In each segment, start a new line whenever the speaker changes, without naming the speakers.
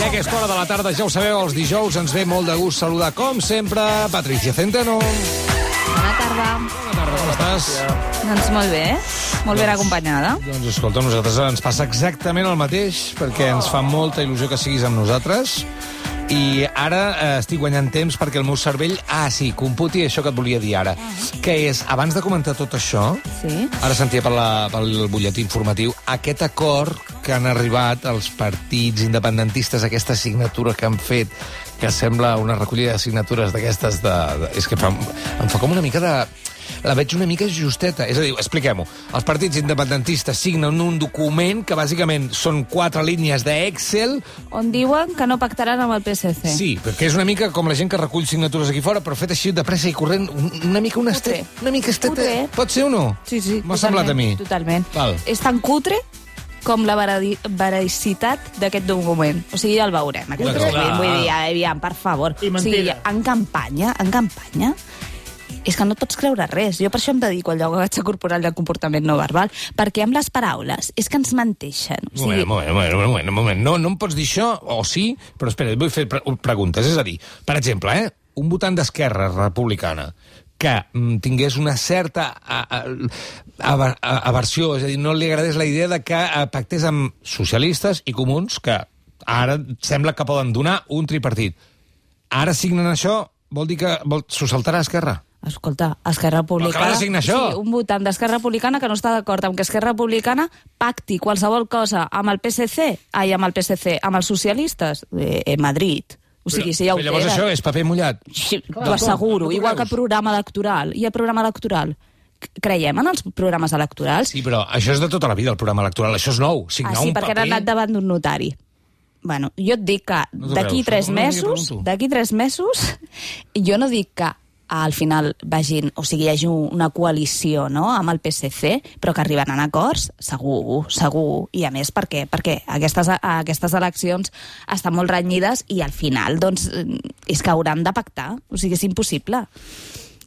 I a aquesta hora de la tarda, ja ho sabeu, els dijous ens ve molt de gust saludar, com sempre, Patricia Centeno.
Bona tarda.
Bona tarda, com estàs?
Doncs molt bé, molt ben acompanyada.
Doncs escolta, a nosaltres ens passa exactament el mateix, perquè ens fa molta il·lusió que siguis amb nosaltres. I ara eh, estic guanyant temps perquè el meu cervell... Ah, sí, computi això que et volia dir ara. Que és, abans de comentar tot això,
Sí.
Ara sentia per la, pel butlletí informatiu aquest acord que han arribat els partits independentistes, aquesta signatura que han fet, que sembla una recollida de signatures d'aquestes de, de... És que fa, em fa com una mica de... La veig una mica justeta. És a dir, expliquem-ho. Els partits independentistes signen un document que bàsicament són quatre línies d'Excel
On diuen que no pactaran amb el PSC.
Sí, perquè és una mica com la gent que recull signatures aquí fora, però fet així de pressa i corrent, un- una mica una
Cutre.
estret, una mica esteta.
Cutre.
Pot ser o no?
sí, sí
M'ha
totalment,
semblat a mi.
Totalment.
Val.
És tan cutre com la veradi- veracitat d'aquest document. O sigui, ja el veurem, aquest
Clar.
document. Vull dir, aviam, per favor.
I
o sigui,
mentida.
en campanya, en campanya, és que no et pots creure res. Jo per això em dedico al llogatge corporal del comportament no verbal, perquè amb les paraules és que ens menteixen. O
Un moment,
sigui,
un moment, un moment, un moment, un moment. No, no em pots dir això, o sí, però espera, et vull fer pre preguntes. És a dir, per exemple, eh, un votant d'Esquerra Republicana que mm, tingués una certa a, a, a, a, aversió, és a dir, no li agradés la idea de que eh, pactés amb socialistes i comuns que ara sembla que poden donar un tripartit. Ara signen això, vol dir que vol- s'ho saltarà Esquerra.
Escolta, Esquerra Republicana...
acaba de signar això.
Sí, un votant d'Esquerra Republicana que no està d'acord amb que Esquerra Republicana pacti qualsevol cosa amb el PSC, ai, amb el PSC, amb els socialistes, eh, eh, Madrid. O sigui, si ja ho eh.
Però llavors
tenen.
això és paper mullat.
Sí,
com?
T'ho asseguro,
No t'ho
igual que
creus?
el programa electoral. Hi ha programa electoral. C- Creiem en els programes electorals?
Sí, però això és de tota la vida, el programa electoral. Això és nou. Signar
ah, sí,
un
perquè
paper...
han anat davant d'un notari. Bueno, jo et dic que
No t'ho
d'aquí
creus,
tres
no? No, ni li
mesos,
pregunto.
d'aquí tres mesos, jo no dic que al final vagin, o sigui, hi hagi una coalició no?, amb el PSC, però que arribaran a acords, segur, segur. I a més, per què? Perquè aquestes, aquestes eleccions estan molt renyides i al final, doncs, eh, és que hauran de pactar. O sigui, és impossible.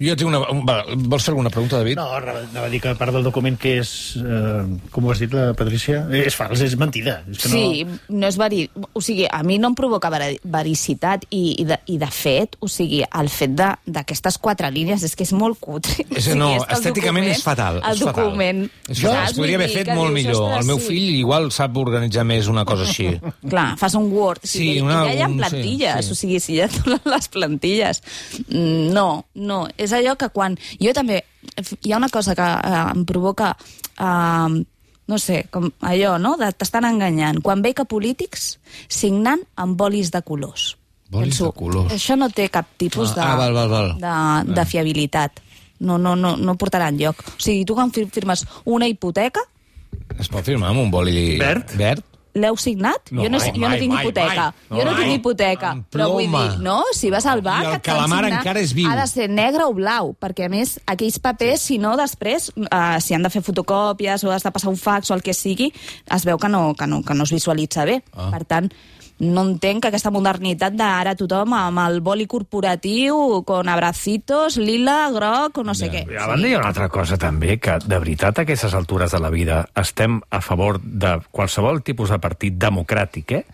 Jo tinc una... un- va, Vols fer alguna pregunta, David?
No, anava a dir que a part del document que és... Eh, com ho has dit, la Patricia? Eh, És fals, és mentida. És que
Sí,
No...
no és veri... O sigui, a mi no em provoca veri- vericitat i, i, de, i de fet, o sigui, el fet de- d'aquestes quatre línies és que és molt cutre. O
És,
sigui,
no,
és que el
estèticament
document-
és fatal.
El
és fatal.
document...
És fatal. Es podria haver fet molt millor. El meu fill igual sap organitzar més una cosa així.
Clar, fas un Word. O
Sí,
sigui,
una-
una, ja hi ha
un- sí,
plantilles,
sí.
o sigui, si ja et donen les plantilles. Mm, No, no. És allò que quan... Jo també... Hi ha una cosa que eh, em provoca... Eh, no sé, com allò, no? De T'estan enganyant. Quan veig que polítics signant amb bolis de colors.
Bolis de colors.
Això no té cap tipus
Ah,
de,
ah, val, val, val.
de, de fiabilitat. No, no, no, no portarà enlloc. O sigui, tu quan fir- firmes una hipoteca,
Es pot firmar amb un boli...
Verd?
Verd?
L'heu signat?
No,
jo no,
mai,
jo no
mai,
tinc
mai,
hipoteca.
mai.
jo no
Mai.
tinc hipoteca.
Amb
Però vull
ploma.
dir, no, si vas al
I
banc...
el
et fan
calamar
signar,
encara és viu.
Ha de ser negre o blau, perquè a més aquells papers, si no, després, eh, si han de fer fotocòpies o has de passar un fax o el que sigui, es veu que no, que no, que no es visualitza bé.
Ah.
Per tant, no entenc que aquesta modernitat d'ara tothom amb el boli corporatiu, con abracitos, lila, groc o no sé què.
A banda hi ha una altra cosa també, que de veritat a aquestes altures de la vida estem a favor de qualsevol tipus de partit democràtic, eh?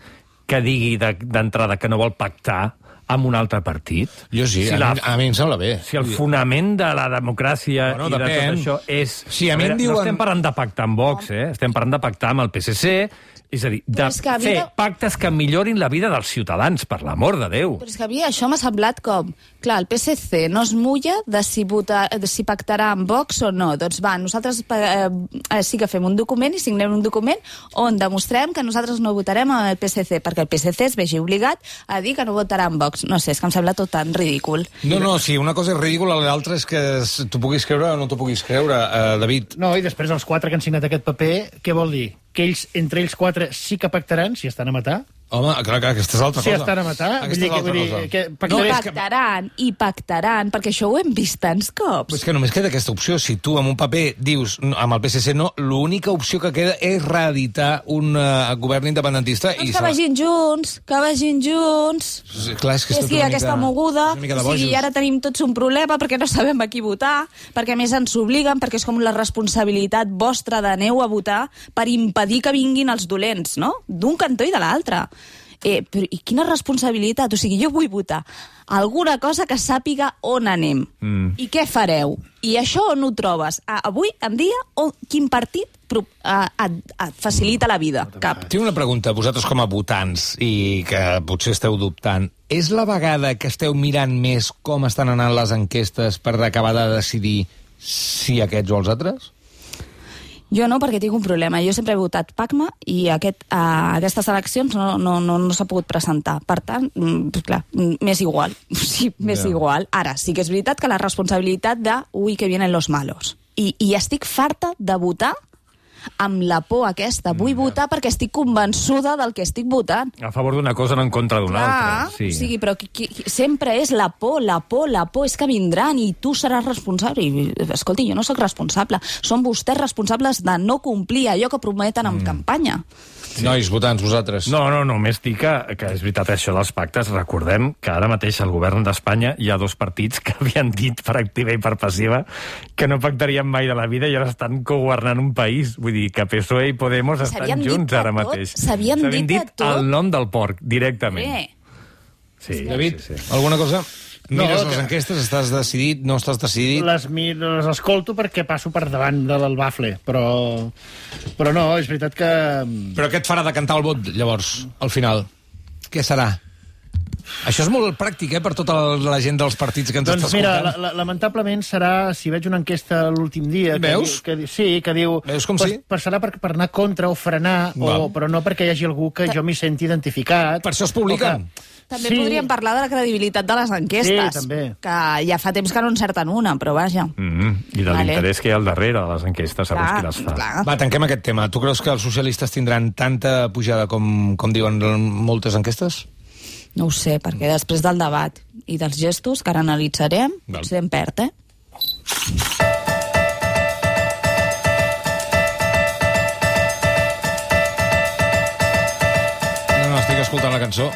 que digui de- d'entrada que no vol pactar amb un altre partit.
Jo sí,
Si,
a,
la,
mi, a mi em sembla bé.
si el fonament de la democràcia
Bueno,
bueno, i de
depèn.
tot això és...
Si a mi em diuen-
No estem parlant de pactar amb Vox, eh? estem parlant de pactar amb el PSC, és a dir, de
Però és que a mi
fer
no-
pactes que millorin la vida dels ciutadans, per l'amor de Déu.
Però és que a mi això m'ha semblat com... Clar, el PSC no es mulla de si, vota, de si pactarà amb Vox o no. Doncs va, nosaltres pa- eh, eh, sí que fem un document i signem un document on demostrem que nosaltres no votarem amb el PSC, perquè el PSC es vegi obligat a dir que no votarà amb Vox. No sé, és que em sembla tot tan ridícul.
No, no, si una cosa és ridícula, l'altra és que es- t'ho puguis creure o no t'ho puguis creure, eh, David.
no, i després els quatre que han signat aquest paper, què vol dir? Que ells, entre ells quatre, sí que pactaran, si estan a matar?
Home, clar, clar, aquesta és l'altra
Sí,
cosa.
estan a matar.
Aquesta
Vull
és
dir que-
l'altra
vull dir
cosa.
que
No,
I
pactaré-
és que
pactaran, i pactaran, perquè això ho hem vist tants
Però
cops.
és que només queda aquesta opció. Si tu amb un paper dius "No, amb el PSC no, l'única opció que queda és reeditar un eh, govern independentista.
Doncs
i
que
se-
vagin junts, que vagin junts...
Sí, Clar, és que,
és
tot
que
una
aquesta
mica,
moguda,
és una mica de
o sigui,
bojos.
i ara tenim tots un problema perquè no sabem a qui votar, perquè a més ens obliguen, perquè és com la responsabilitat vostra d'aneu a votar per impedir que vinguin els dolents, no? D'un cantó i de l'altre. Eh, però, I quina responsabilitat? O sigui, jo vull votar alguna cosa que sàpiga on anem. Mm. I què fareu? I això on ho trobes? A, avui, en dia, o quin partit pro, a, a, et facilita la vida? Cap.
Tinc una pregunta, vosaltres com a votants, i que potser esteu dubtant. És la vegada que esteu mirant més com estan anant les enquestes per acabar de decidir si aquests o els altres?
Jo no, perquè tinc un problema. Jo sempre he votat PACMA i aquest, a aquestes eleccions no, no, no, no s'ha pogut presentar. Per tant, mm, clar, mm, m'és igual. Sí, m'és
Ja.
yeah. igual. Ara, sí que és veritat que la responsabilitat de ui, que vienen los malos. I, i estic farta de votar amb la por aquesta. Vull votar perquè estic convençuda del que estic votant.
A favor d'una cosa, no en contra d'una altra.
Ah, o sigui, però qui, qui, qui- sempre és la por, la por, la por, és que vindran i tu seràs responsable. I, escolti, jo no sóc responsable, són vostès responsables de no complir allò que prometen en
Mm.
campanya.
Sí. Nois, votants, vosaltres.
No, no, només dir que, que és veritat això dels pactes. Recordem que ara mateix al govern d'Espanya hi ha dos partits que havien dit per activa i per passiva que no pactarien mai de la vida i ara estan governant un país. Vull dir que PSOE E i Podemos
S'havien
estan
dit
junts
de
ara
tot,
mateix.
s'havien dit de
dit
tot. Eh,
el nom del porc, directament.
Bé,
Sí,
David, sí, sí. alguna cosa?
No,
Mires les
que-
enquestes, estàs decidit, no estàs decidit?
Les, mi- les escolto perquè passo per davant de l'albafle, però, però no, és veritat que... mm,
Però què et farà decantar el vot, llavors, al final? Què serà? Això és molt pràctic, eh?, per tota la la gent dels partits que ens
Doncs
està
mira,
escoltant.
la, la, lamentablement serà, si veig una enquesta l'últim dia... Que
Veus?
diu- Que, di- sí, que diu...
Veus com
pues,
sí?
Pues serà per, per anar contra o frenar,
Val.
o, però no perquè hi hagi algú que jo m'hi senti identificat.
Per això es publiquen.
o que-
també sí. podríem parlar de la credibilitat de les enquestes,
Sí, també.
que ja fa temps que no encerten una, però vaja.
Mm -hmm. I de
Vale.
l'interès que hi ha al darrere de les enquestes, segons qui les fa.
clar.
Va, tanquem aquest tema. Tu creus que els socialistes tindran tanta pujada com, com diuen moltes enquestes?
No ho sé, perquè després del debat i dels gestos que ara analitzarem,
Val.
potser em perd, eh?
No, no, estic escoltant la cançó.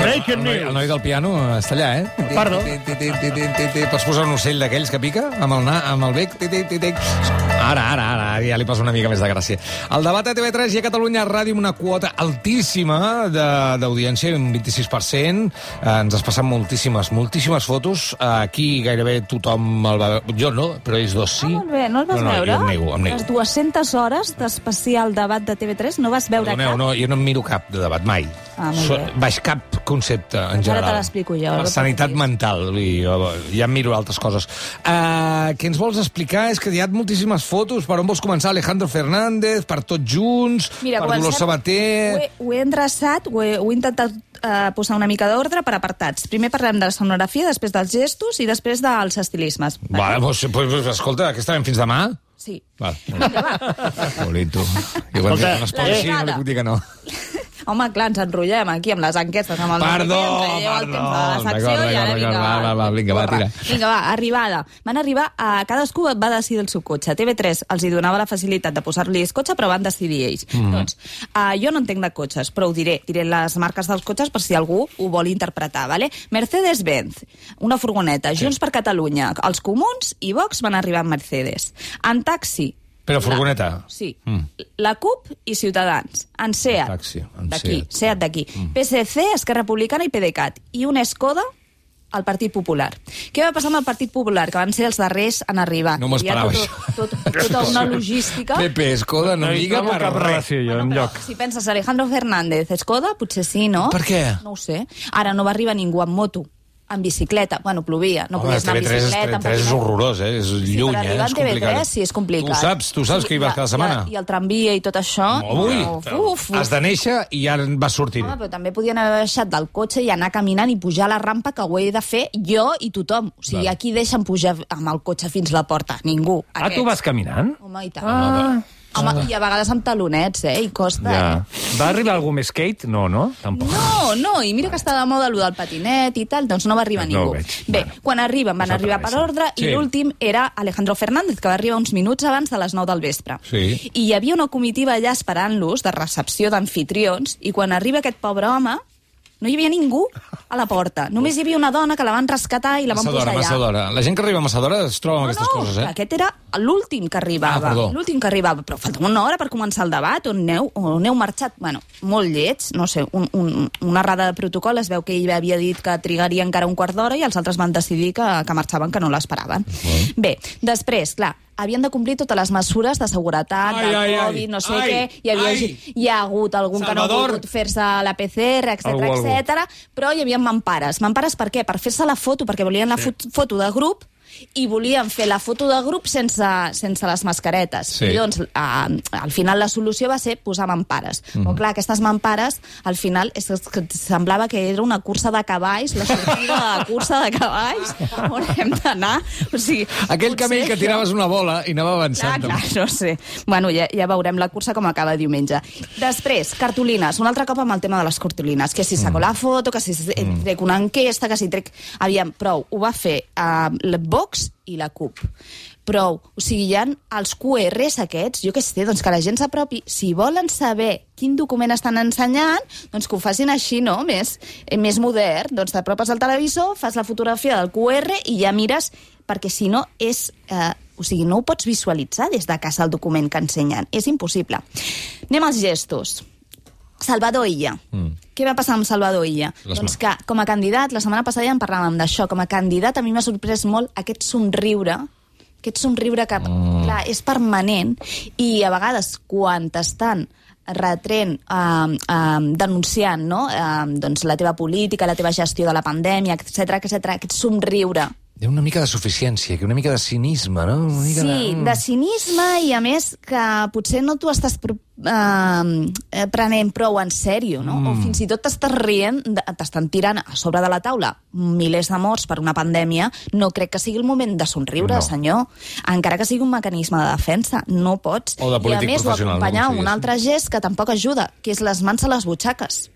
Breaking
el, noi,
news.
el noi del piano està allà, eh?
Pardon.
Ti, ti, ti, ti, ti, ti, ti. Pots posar un ocell d'aquells que pica amb el, na, amb el bec? Ti, ti, ti, ti. Ara, ara, ara, ja li poso una mica més de gràcia. El debat a TV3 i a Catalunya Ràdio amb una quota altíssima de- d'audiència, un 26%. Eh, ens has passat moltíssimes, moltíssimes fotos. Eh, aquí gairebé tothom el va... Jo no, però ells dos sí.
Ah, molt bé, no el vas
no, no,
veure?
Jo em nego, em nego.
Les 200 hores d'especial debat de TV3 no vas veure
Perdoneu,
cap?
no, jo no em miro cap de debat, mai.
Ah, molt bé.
Baix cap concepte, en
Ara
general.
te l'explico jo, no
Per
et
sanitat
preocupis.
mental, vull dir, jo, ja em miro altres coses. Uh, què ens vols explicar? És que hi ha moltíssimes fotos. Per on vols començar? Alejandro Fernández, per tots junts, per
comencem-
Dolors Sabater...
Ho he, ho he endreçat, ho he, ho he intentat eh, posar una mica d'ordre per apartats. Primer parlem de la sonografia, després dels gestos i després dels estilismes.
Vale, doncs, pues, pues, escolta, que estarem fins demà?
Sí.
Val. Bonito. Jo quan
Escolta,
escolta, no es pot
la
així, no li
vegada.
puc dir que no.
Home, clar, ens enrotllem aquí amb les enquestes, amb el
Perdó,
Enrique, ens traieu el
perdó.
temps de la secció
D'acord,
i ara
d'acord,
vinga,
d'acord, va, va, va, vinga, va,
Corre.
tira.
Vinga, va, arribada. Van arribar a... Cadascú va decidir el seu cotxe. TV3 els hi donava la facilitat de posar-li el cotxe, però van decidir ells. Mm. Doncs, uh, jo no entenc de cotxes, però ho diré. Diré les marques dels cotxes per si algú ho vol interpretar, vale? Mercedes-Benz, una furgoneta. Junts per Catalunya, els comuns i Vox van arribar amb Mercedes. En taxi,
Però furgoneta.
Sí.
Mm.
Mm. La CUP i Ciutadans. En SEAT.
Taxi, en
D'aquí,
Seat.
SEAT d'aquí. Mm. PSC, Esquerra Republicana i PDeCAT. I una Skoda al Partit Popular. Què va passar amb el Partit Popular? Que van ser els darrers en arribar.
No m'ho
Hi havia
esperava,
tot, tot, tota una logística...
Pepe, Escoda, no,
No
no
hi
lliga
trobo
per
cap
res.
relació, jo, en lloc.
Si penses Alejandro Fernández, Skoda, potser sí, no?
Per què?
No ho sé. Ara no va arribar ningú amb moto, amb bicicleta. Bueno, plovia, no
Home,
podies anar amb
TV3 és,
bicicleta. amb
TV3 és
patinet.
horrorós, eh? És
Sí,
lluny,
per
eh?
arribar
És
a TV3
complicat.
sí, és complicat.
Tu ho saps, tu saps
Sí,
que hi vas
i-
cada setmana.
I, el- I el tramvia i tot això...
Avui
Uf, uf, uf.
has de néixer i ja vas sortint.
Home, però també podien haver baixat del cotxe i anar caminant i pujar a la rampa que ho he de fer jo i tothom. O sigui,
Clar.
aquí deixen pujar amb el cotxe fins la porta. Ningú.
Ah, tu vas caminant?
Home, i tant.
Ah,
Home, i a vegades amb talonets, eh? I costa,
ja.
eh?
Va arribar algú més skate? No, no? Tampoc.
No, no, i mira que està de moda allò del patinet i tal, doncs no va arribar
No ho
ningú.
veig.
Bé,
Bueno.
quan arriben, van
Us
arribar per
atravessen.
ordre
Sí.
i l'últim era Alejandro Fernández, que va arribar uns minuts abans de les 9 del vespre.
Sí.
I hi havia una comitiva allà esperant-los de recepció d'anfitrions i quan arriba aquest pobre home No hi havia ningú a la porta. Només hi havia una dona que la van rescatar i la van
massa d'hora,
posar
massa
allà.
d'hora. La gent que arriba massa d'hora es troba amb aquestes
no,
coses, eh?
aquest era l'últim que arribava.
Ah, perdó.
l'últim que arribava, però faltava una hora per començar el debat, on neu, on neu marxat. Bueno, molt llets, no sé, un, un, una errada de protocol, es veu que ell havia dit que trigaria encara un quart d'hora i els altres van decidir que, que marxaven, que no l'esperaven. Bé, després, clar, havien de complir totes les mesures de seguretat,
Ai,
del
ai, ai.
Covid, no sé
Ai,
què, hi, havia,
ai.
hi ha hagut algun que no ha
Salvador.
volgut fer-se la PCR, etc
Algú,
etc
algú.
etcètera, però hi havia mampares. Mampares per què? Per fer-se la foto, perquè volien la fot foto de grup i volien fer la foto de grup sense, sense les mascaretes.
Sí.
I doncs, a, al final la solució va ser posar mampares. Mm.
Mhm.
Però clar, aquestes mampares, al final, és que semblava que era una cursa de cavalls, la sortida de la cursa de cavalls, on hem d'anar. O sigui,
Aquell
potser
camí que
això-
tiraves una bola i anava
Clar,
avançant.
clar, no sé. Bueno, ja, ja veurem la cursa com acaba diumenge. Després, cartolines. Un altre cop amb el tema de les cartolines. Que si saco la foto, que si eh, trec una enquesta, que si trec... Aviam, prou. Ho va fer eh, la Vox i la CUP. Prou. O sigui, hi ha els QRs aquests, jo què sé, doncs que la gent s'apropi. Si volen saber quin document estan ensenyant, doncs que ho facin així, no? Més, eh, més modern. Doncs t'apropes al televisor, fas la fotografia del QR i ja mires, perquè si no és... Eh, o sigui, no ho pots visualitzar des de casa el document que ensenyen. És impossible. Anem als gestos. Salvador Illa. Mm. Què va passar amb Salvador Illa?
Les
doncs
mà-
que, com a candidat, la setmana passada ja en parlàvem d'això, com a candidat a mi m'ha sorprès molt aquest somriure, aquest somriure que, mm. clar, és permanent, i a vegades, quan t'estan retren, eh, eh, denunciant no? eh, doncs la teva política, la teva gestió de la pandèmia, etc etc aquest somriure
Hi ha una mica de suficiència, que una mica de cinisme, no? Una mica
Sí, de cinisme i, a més, que potser no t'ho estàs pro- eh, eh, prenent prou en sèrio, no? Mm. O fins i tot t'estàs rient, de- t'estan tirant a sobre de la taula milers de morts per una pandèmia, no crec que sigui el moment de somriure,
No.
no. senyor. Encara que sigui un mecanisme de defensa, no pots.
O de polític
I, a més, ho
professional, no? eh?
acompanyar
Com
amb
si
un
diguéssim.
altre gest que tampoc ajuda, que és les mans a les butxaques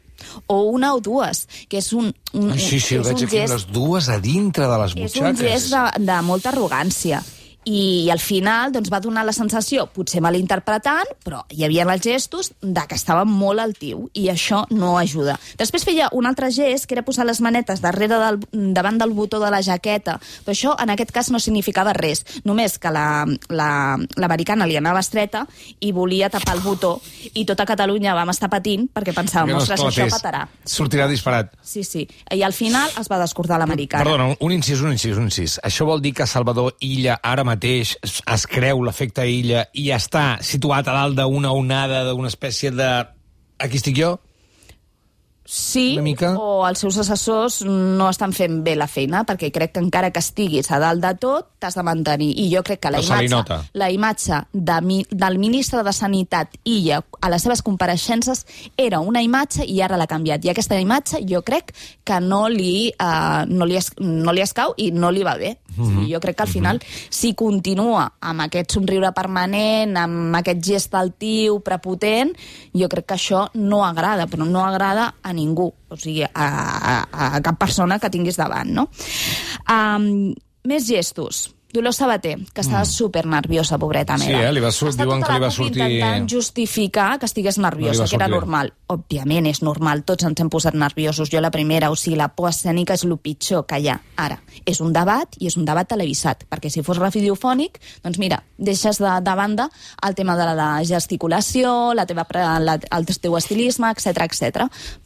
o una o dues, que és un, un,
Ai, Mm. sí, sí,
un-
ho
és
veig
un
aquí,
gest
les dues a dintre de les
és
butxaques.
un gest de, de molta arrogància. I al final doncs, va donar la sensació, potser malinterpretant, però hi havia els gestos de que estava molt altiu i això no ajuda. Després feia un altre gest, que era posar les manetes darrere del, davant del botó de la jaqueta, però això en aquest cas no significava res, només que l'americana la, l'americana li anava estreta i volia tapar el botó i tota Catalunya vam estar patint perquè
Que
pensàvem,
no
ostres, això
esclatés.
patarà.
Sortirà disparat.
Sí, sí. I al final es va descordar l'americana.
Perdona, un incís, un incís, un incís. Això vol dir que Salvador Illa ara mateix es, es creu l'efecte Illa i està situat a dalt d'una onada, d'una espècie de... Aquí estic jo?
Sí,
Una mica.
o els seus assessors no estan fent bé la feina, perquè crec que encara que estiguis a dalt de tot, t'has de mantenir. I jo crec que la
Però se li
imatge,
nota.
la imatge de, mi, del ministre de Sanitat Illa a les seves compareixences era una imatge i ara l'ha canviat. I aquesta imatge jo crec que no li, eh, no li, es, no li escau i no li va bé. Mm
Mhm.
-hmm. Jo crec que al final, si continua amb aquest somriure permanent, amb aquest gest altiu, prepotent, jo crec que això no agrada, però no agrada a ningú, o sigui, a, a, a cap persona que tinguis davant, no? Um, més gestos. Dolors Sabater, que estava mm. super nerviosa, pobreta
Sí,
meva.
eh? Li va surt-
Està
diuen
tota
que li
la
va
CUP
sortir-
Intentant justificar que estigués nerviosa, que era
sortir bé.
normal. Òbviament és normal, tots ens hem posat nerviosos, jo la primera, o sigui, la por escènica és el pitjor que hi ha ara. És un debat i és un debat televisat, perquè si fos radiofònic, doncs mira, deixes de, de banda el tema de la, la gesticulació, la teva, pre- la, el teu estilisme, etc etc.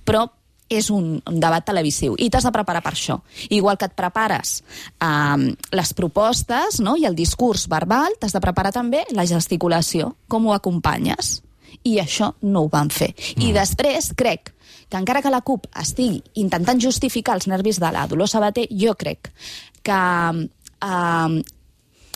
però és un un debat televisiu i t'has de preparar per això. Igual que et prepares um, les propostes no? i el discurs verbal, t'has de preparar també la gesticulació, com ho acompanyes. I això no ho van fer. I després crec que encara que la CUP estigui intentant justificar els nervis de la Dolors Sabater, jo crec que um,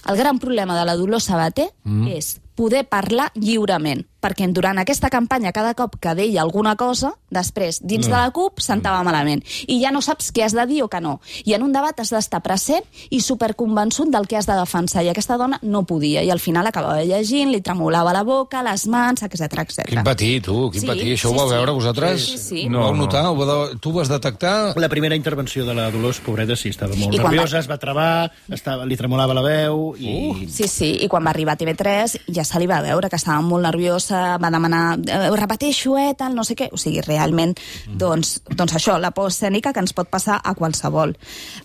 el gran problema de la Dolors Sabater mm. és poder parlar lliurement, perquè durant aquesta campanya cada cop que deia alguna cosa, després, dins de la CUP, s'entava malament. I ja no saps què has de dir o que no. I en un debat has d'estar present i superconvençut del que has de defensar. I aquesta dona no podia. I al final acabava llegint, li tremolava la boca, les mans, etc
Quin
etc.
patir, tu, quin
Sí,
patir. Això
sí,
ho vau
sí.
veure vosaltres?
Sí, sí.
No, ho vau
No, no.
notar? Ho vau... Tu ho vas detectar?
La primera intervenció de la Dolors, pobreta, sí, estava molt
I quan
nerviosa,
va-
es va travar, estava, li tremolava la veu i... Uh.
Sí, sí, i quan va arribar a TV3 ja se li va veure que estava molt nerviosa, eh, va demanar eh, ho repeteixo, eh, tal, no sé què. O sigui, realment, doncs, doncs això, la por escènica que ens pot passar a qualsevol.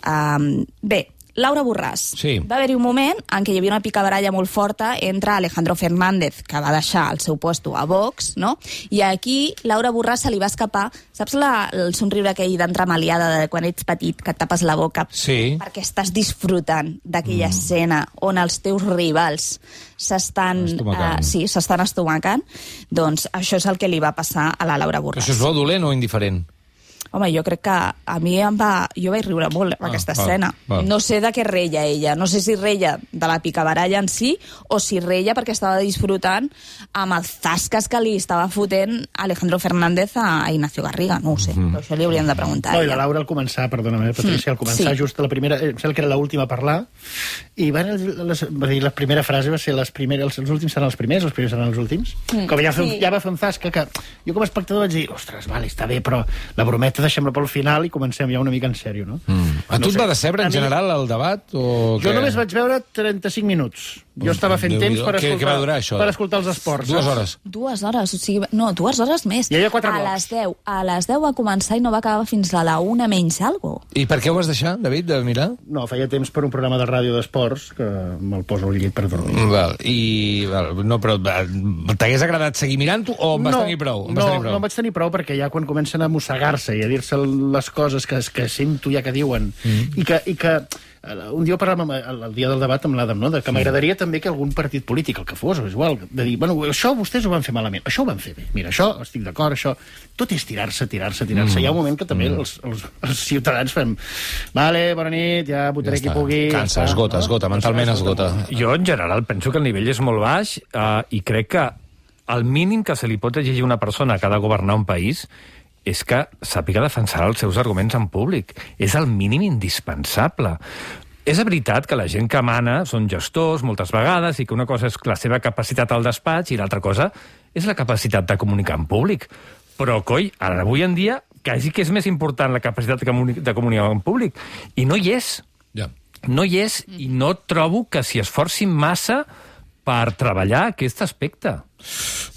Um, bé, Laura Borràs.
Sí.
Va haver-hi un moment en què hi havia una picabaralla molt forta entre Alejandro Fernández, que va deixar el seu puesto a Vox, no? i aquí Laura Borràs se li va escapar, saps la, el somriure aquell d'entremaliada de quan ets petit, que et tapes la boca
Sí.
perquè estàs disfrutant d'aquella mm. escena on els teus rivals s'estan
Estomacant.
eh, sí, s'estan estomacant, doncs això és el que li va passar a la Laura Borràs.
Això és bo, dolent o indiferent?
Home, jo crec que a mi em va... Jo vaig riure molt amb
Ah,
aquesta
val,
escena.
val.
No sé de què reia ella. No sé si reia de la picabaralla en si o si reia perquè estava disfrutant amb els tasques que li estava fotent Alejandro Fernández a, a Ignacio Garriga. No ho sé,
Mhm.
però això li hauríem de preguntar. a
No, i
ella.
la Laura al començar, perdona'm, eh, Patricia, al començar
Ah, Mm, sí.
sí. just a la primera, eh, em sembla que era l'última a parlar, i van les, va dir, la primera frase va ser les primeres, els, els últims seran els primers, els primers seran els últims. Mm, Com ja, fer,
sí.
sí. ja va fer un zasca que jo com a espectador vaig dir, ostres, vale, està bé, però la brometa deixem-la pel final i comencem ja una mica en sèrio, no?
Mm. A tu
No
et
sé.
va decebre
A
en
mi-
general el debat? O
Jo
què? Doncs
només vaig veure 35 minuts. Jo estava fent
Déu-n'hi-do.
temps per
Què-
escoltar,
què va durar, això?
per escoltar els esports.
Dues
saps?
hores.
Dues hores, o sigui, no, dues hores més.
Hi havia quatre
a
blocs.
les 10, a les 10 va començar i no va acabar fins a la una menys algo.
I per què ho vas deixar, David, de mirar?
No, feia temps per un programa de ràdio d'esports que me'l poso al llit per dormir.
Val, i... Val, no, però va, t'hagués agradat seguir mirant-ho o en vas
no,
tenir prou? En
no,
vas tenir prou?
no en vaig tenir prou perquè ja quan comencen a mossegar-se i a dir-se les coses que, que sento ja que diuen mm. i que, i que eh, un dia ho parlàvem eh, el, el dia del debat amb l'Adam, no? De que m'agradaria també que algun partit polític, el que fos, o és igual, de dir, bueno, això vostès ho van fer malament, això ho van fer bé, mira, això estic d'acord, això... Tot és tirar-se, tirar-se, tirar-se. Mm. Hi ha un moment que també mm. els, els, els ciutadans fem vale, bona nit, ja votaré
Ja
ja qui
està.
pugui... ja
Ah, Cansa,
està",
esgota,
no?
esgota, mentalment esgota.
Jo, en general, penso que el nivell és molt baix eh, i crec que el mínim que se li pot exigir a una persona que ha de governar un país és que sàpiga defensar els seus arguments en públic. És el mínim indispensable. És veritat que la gent que mana són gestors moltes vegades i que una cosa és la seva capacitat al despatx i l'altra cosa és la capacitat de comunicar en públic. Però, coi, ara avui en dia quasi que és més important la capacitat de, comuni de comunicar en públic. I no hi és
Ja.
no hi és i
Mm.
no trobo que s'hi esforcin massa per treballar aquest aspecte.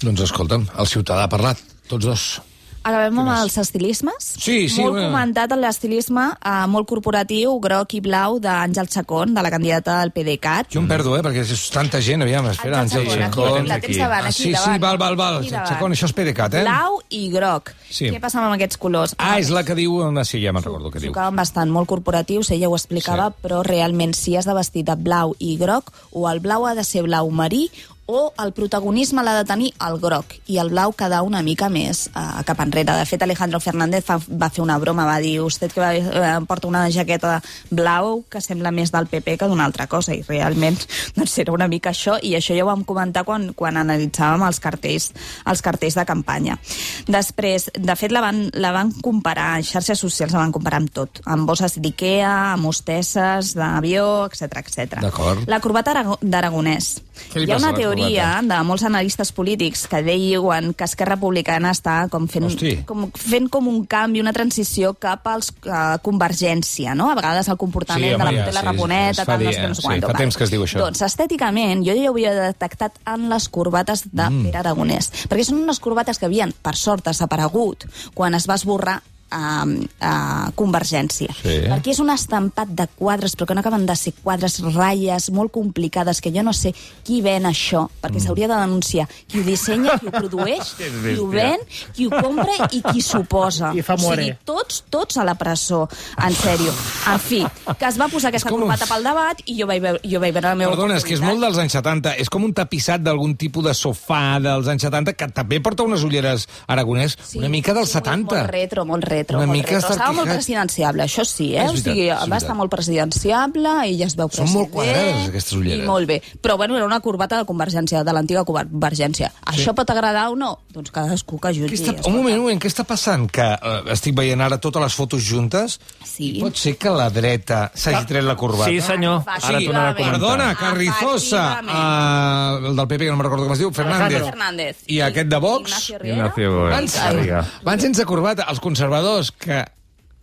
Doncs escolta'm, el ciutadà ha parlat, tots dos.
Acabem amb els estilismes.
Sí, sí,
Molt
bueno.
comentat l'estilisme eh, molt corporatiu, groc i blau, d'Àngel Chacón, de la candidata del PDCAT.
Jo em perdo, eh, perquè és tanta gent, aviam, espera, Àngel
Àngel Chacón, aquí,
Chacón...
la tens davant,
Ah,
aquí
sí,
davant.
sí, val, val, val.
Aquí davant.
Chacón, això és PDeCAT, eh?
Blau i groc.
Sí.
Què passava amb aquests colors?
Ah, és la que diu... Ah, sí, ja me'n recordo què diu.
Tocaven bastant, molt corporatius, ella ho explicava,
Sí.
sí. però realment si has de vestir de blau i groc, o el blau ha de ser blau marí, o el protagonisme l'ha de tenir el groc, i el blau quedar una mica més eh, cap enrere. De fet, Alejandro Fernández fa, va fer una broma, va dir, vostè que va, eh, porta una jaqueta blau que sembla més del PP que d'una altra cosa, i realment doncs era una mica això, i això ja ho vam comentar quan, quan analitzàvem els cartells, els cartells de campanya. Després, de fet, la van, la van comparar, en xarxes socials la van comparar amb tot, amb bosses d'Ikea, amb hostesses, d'avió, etc etc.
D'acord.
La corbata arago- d'Aragonès.
Què li
Hi ha
passa a
una
la
teoria de molts analistes polítics que diuen que Esquerra Republicana està com fent,
Hosti.
com, fent com un canvi, una transició cap als uh, convergència, no? A vegades el comportament
Sí,
de
home,
la
ja,
Miquela
sí, es
Raponeta,
fa
tal, no
dir,
sé què, no
sí,
sé quant.
fa temps que es diu això.
Doncs estèticament, jo ja ho havia detectat en les corbates de mm. Pere Aragonès, perquè són unes corbates que havien, per sort, desaparegut quan es va esborrar a, a Convergència.
Sí.
Perquè és un estampat de quadres, però que no acaben de ser quadres, ratlles molt complicades, que jo no sé qui ven això, perquè
Mm.
s'hauria de denunciar qui ho dissenya, qui ho produeix, qui ho ven, qui ho compra i qui s'ho posa.
I fa
o sigui,
muere.
tots, tots a la presó, en sèrio. En fi, que es va posar aquesta
com un-
corbata pel debat i jo vaig veure, jo vaig veure la meva
Perdona, és que és molt
oportunitat.
dels anys 70. És com un tapissat d'algun tipus de sofà dels anys 70, que també porta unes ulleres aragonès,
Sí,
una mica dels
sí, molt-
70.
Molt retro, molt retro.
Una
molt
mica
retro. Estava
Starkey
molt
Hat.
presidenciable, això sí, eh?
És
o
veritat,
sigui,
és
va
veritat.
estar molt presidenciable i ja es veu
Són
president.
molt quadrades, aquestes ulleres.
I molt bé. Però, bueno, era una corbata de convergència, de l'antiga convergència. Això pot agradar o no? Doncs cadascú que
Què
jutgi.
està,
escolta.
un moment, un moment, què està passant? Que eh, estic veient ara totes les fotos juntes?
Sí.
I Pot ser que la dreta s'hagi tret la corbata?
Ah, Sí, senyor.
Ah,
Ara
sí,
t'ho anava a
va bé.
comentar.
Perdona, Carrizosa, eh, el del PP, que no me'n recordo com es diu, Fernández.
Fernández.
I aquest de Vox,
Ignacio Riera.
Ignacio
van,
Garriga.
van sense corbata. Els conservadors, que...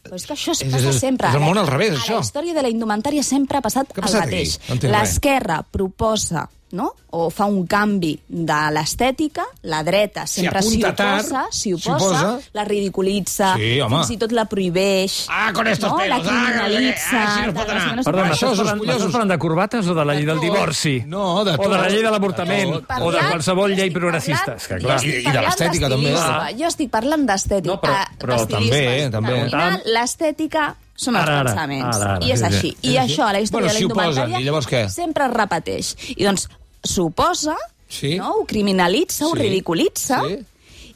Però és que això es
És-
passa
és-
sempre. eh?
és el món al revés,
a la-
això.
A la història de la indumentària sempre ha passat
Què ha
el
passat
mateix.
aquí? No entenc res.
L'esquerra proposa no? o fa un canvi de l'estètica, la dreta sempre s'hi
apunta
oposa,
tard,
s'hi
s'hi
oposa,
oposa.
la ridiculitza,
Sí, home.
fins i tot la prohibeix,
Ah, con estos
no?
pelos,
la
ah,
criminalitza...
així no es pot
tal,
anar.
que no es
Perdona,
pot.
això
m'estàs
és
parlant-
escollosos.
m'estàs parlant de corbates o de la llei del
tot.
divorci?
No, de
O de la
tot.
llei de l'avortament?
De tot.
O de
Parlant-
qualsevol llei
estic
progressista?
parlant-
És que,
jo
clar.
I-
estic
i de
parlant
l'estètica, també. eh?
d'estilisme. Jo estic parlant d'estètica.
No, però-
Ah,
però eh,
també,
d'estilisme.
també.
Al final, L'estètica són els
Ara, ara,
pensaments.
ara, ara,
I és
sí, sí.
així. I això, a la història
Bueno,
de la
s'hi oposen,
indumentària,
i llavors què?
sempre es repeteix. I doncs s'oposa,
Sí.
no? ho criminalitza, ho
Sí.
ridiculitza,
Sí.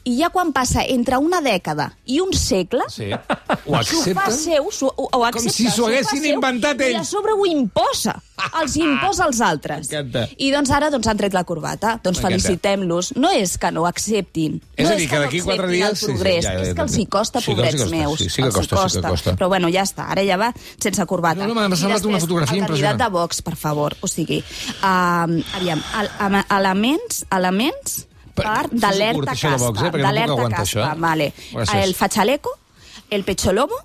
i ja quan passa entre una dècada i un segle,
Sí. Ho
s'ho fa
accepten?
seu, s'ho- ho, ho accepta,
si s'ho
fa
haguessin
seu,
inventat
I a
ells.
sobre ho imposa, els imposa als altres.
M'encanta.
I doncs ara doncs, han tret la corbata, doncs
M'encanta.
felicitem-los. No és que no ho acceptin,
És
no
a dir, que
no
d'aquí quatre
acceptin
dies- sí,
El progrés,
sí, ja, ja,
és
ja,
que els hi costa,
sí que els hi
pobrets
costa,
meus.
sí, sí que
els hi
costa, sí que costa.
Però bueno, ja està, ara ja va sense corbata.
No, no, m'ha
I
semblat una
després,
fotografia
el
impressionant.
candidat de Vox, per favor, o sigui, um, aviam, el, amb elements, elements
Per-
part
fes-ho curt,
d'alerta
això de
caspa.
Vox, eh, perquè no puc
d'alerta
aguantar
caspa,
això, eh.
Vale.
Gràcies.
El fachaleco, el pecholobo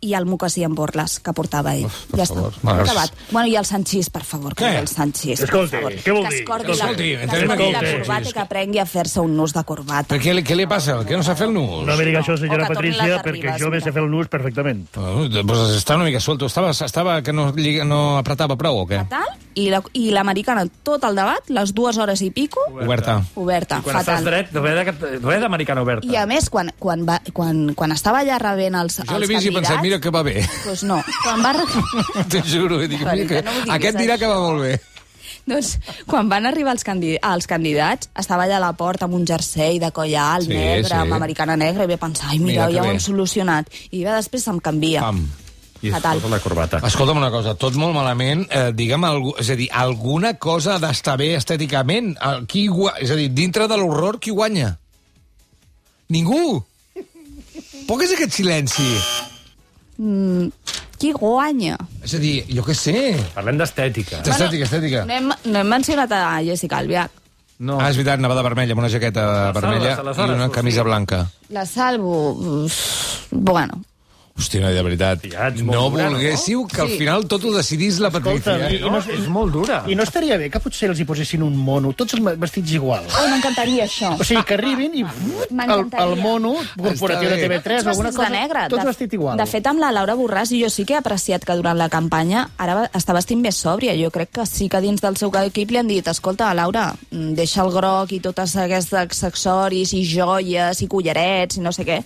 i el Mucas i en Borles, que portava ell.
Uf, per
ja
favor.
està.
Mare.
Acabat. Bueno, i el Sanchís, per favor, que
Què?
ve el Sanchís.
Escolti,
per favor.
què vol
que es
dir?
corti la,
Escolti,
que es
entenem
corti la
aquí.
corbata i que aprengui a fer-se un nus de corbata.
Però què, li- què li passa? Que no sap fer el nus?
No me digui això,
O
senyora
que torni
Patricia,
les
perquè
arribes,
jo ve
mira.
sé fer el nus perfectament.
Bueno, Eh, doncs, Pues està una mica suelto. Estava, estava que no, lliga- no apretava prou o què?
Fatal. I la- I l'americana, tot el debat, les dues hores i pico,
Oberta.
oberta,
I quan estàs
fatal.
dret, res de- res d'americana oberta.
I a més, quan, quan, va, quan, quan estava allà rebent els,
Jo l'he
els
vist i he pensat, mira que va bé.
Doncs no. Quan va...
T'ho juro. Dic,
Perdó,
mira que,
no ho diguis,
aquest dirà
això.
que va molt bé.
Doncs, quan van arribar els, candi els candidats, estava allà a la porta amb un jersei de colla alt,
Sí,
sí, negre,
sí.
sí. amb americana negra, i vaig pensar, ai,
Mira
mira,
que
ja ho
bé."
han solucionat. I va, després se'm canvia.
Pam.
I es
Fatal.
posa la corbata.
Escolta'm una cosa, tot molt malament, eh, digue'm, algú, és a dir, alguna cosa ha d'estar bé estèticament. El, qui, gua- és a dir, dintre de l'horror, qui guanya? Ningú! Poc és aquest silenci.
Mm, Qui guanya?
És a dir, jo què sé.
Parlem d'estètica.
Estètica, estètica.
No hem, no hem mencionat a Jessica Albiach.
No.
Ah, és veritat, anava de vermella, amb una jaqueta
Aleshores,
vermella
aleshores,
i una
sí.
camisa blanca.
La salvo... uf, Bueno,
Hòstia, no, de veritat.
Ja ets molt
No
dura, no?
volguéssiu que al final tot ho decidís la Patricia.
Escolta'm,
eh?
i no,
és molt dura.
i no estaria bé que potser els hi posessin un mono, tots els vestits iguals.
oh, m'encantaria això.
O sigui, que arribin i uf, el, el mono corporatiu de
bé.
TV3 o alguna
vestits
cosa...
de negre.
Tots
de,
vestit igual.
De fet, amb la Laura Borràs, jo sí que he apreciat que durant la campanya ara va- està vestint més sòbria. Jo crec que sí que dins del seu equip li han dit escolta, Laura, mm, deixa el groc i totes aquests accessoris i joies i collarets i no sé què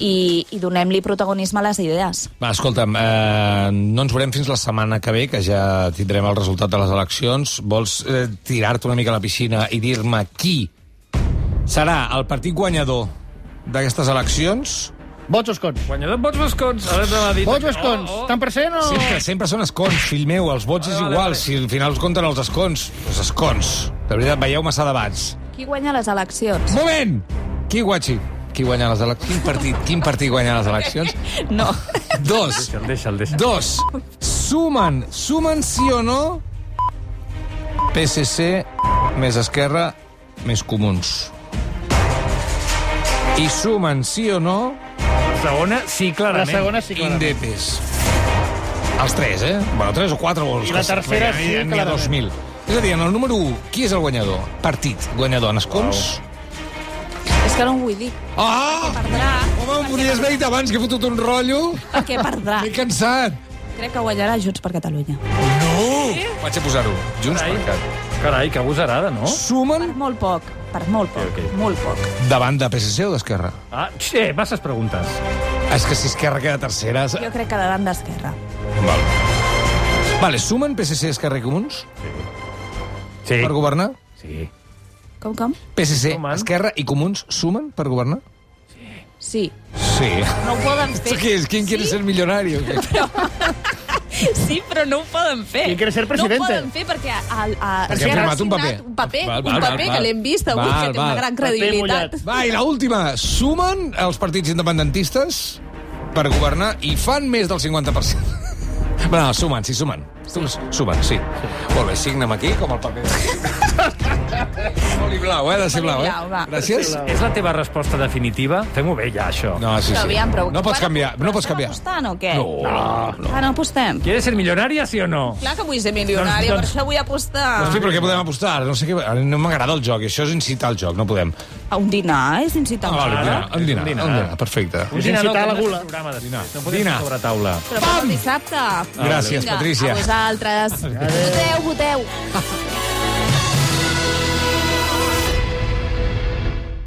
i, i donem-li protagonisme a les idees.
Va, escolta'm, eh, no ens veurem fins la setmana que ve, que ja tindrem el resultat de les eleccions. Vols eh, tirar-te una mica a la piscina i dir-me qui serà el partit guanyador d'aquestes eleccions?
Vots o escons?
Guanyador, vots o escons? Ara te l'ha dit.
Vots o escons?
Oh,
Tant per cent o...
Sempre, sempre són escons, fill meu, els vots és
Vale, vale,
igual.
vale.
Si al final us compten els escons, els escons. De veritat, veieu massa debats.
Qui guanya les eleccions?
Moment! Qui guatxi? Qui guanya les eleccions? Quin partit, quin partit guanya les eleccions?
No.
Dos.
Deixa'l, deixa'l, deixa'l.
Dos. Sumen, sumen sí o no PSC més Esquerra més Comuns. I sumen sí o no
La segona, sí,
La
clarament.
segona sí que la...
Indepes. Els tres, eh? Bueno, tres o quatre. o els
I la
que-
tercera sí
N'hi ha-
que
N'hi ha
la
dos mil. És a dir, en el número 1, qui és el guanyador? Partit guanyador en escons?
És que no ho vull dir.
Wow. Ah!
Perdrà,
Home, em podries haver dit abans que he fotut un rotllo.
perquè perdrà.
M'he cansat.
Crec que guanyarà Junts per Catalunya.
No! Vaig a posar-ho. Junts
Carai,
per Cat.
carai, que agosarada, no?
Sumen
Per molt poc, per molt poc,
Ok, ok.
molt poc.
Davant de PSC o d'Esquerra?
Ah, xe, masses preguntes.
És que si Esquerra queda tercera... és-
Jo crec que davant d'Esquerra.
Val. Vale, sumen PSC, Esquerra i Comuns
Sí.
per governar?
Sí.
Com, com?
PSC,
Sumen.
Esquerra i Comuns sumen per governar?
Sí.
Sí.
No ho poden
Això què és? ¿Quién quiere ser millonario? Però...
Sí, però no ho poden fer.
Qui quiere ser presidente?
No ho poden fer perquè, al,
Perquè
a,
ha
Esquerra
firmat un
signat
paper.
Un paper,
Val,
un
val,
paper
val,
que
val.
l'hem vist avui,
Val,
que té una
val.
gran
Paper
credibilitat.
mullat.
Va, i l'última. Sumen els partits independentistes per governar i fan més del 50%. Bé, no, sumen, sí, sumen. Tu Suben, sí. Molt bé, signa'm aquí, com el paper. Oli blau, eh? Ha de ser blau, eh?
Oli blau, va.
Gràcies.
És la teva resposta definitiva? Fem-ho bé ja, això.
No, sí,
Però
sí.
aviam, però-
No pots canviar, no pots
Estem
canviar.
apostant o què?
No.
Ah, no apostem.
¿Quieres ser milionària, sí o no?
Clar que vull ser milionària,
Doncs-
per
doncs-
això vull apostar.
Hosti, però què podem apostar? Ara No sé què... ara No m'agrada el joc, i això és incitar el joc, no podem.
A un dinar, eh, és
Ah,
incitant.
vale,
Ara,
un dinar, un dinar,
és un dinar.
un dinar, perfecte.
Un
dinar no, que no és
Programa de dinar.
No
No
podem
podem
fer
sobre taula.
Però per dissabte.
Gràcies,
Vinga,
Patrícia.
A vosaltres. Voteu, voteu.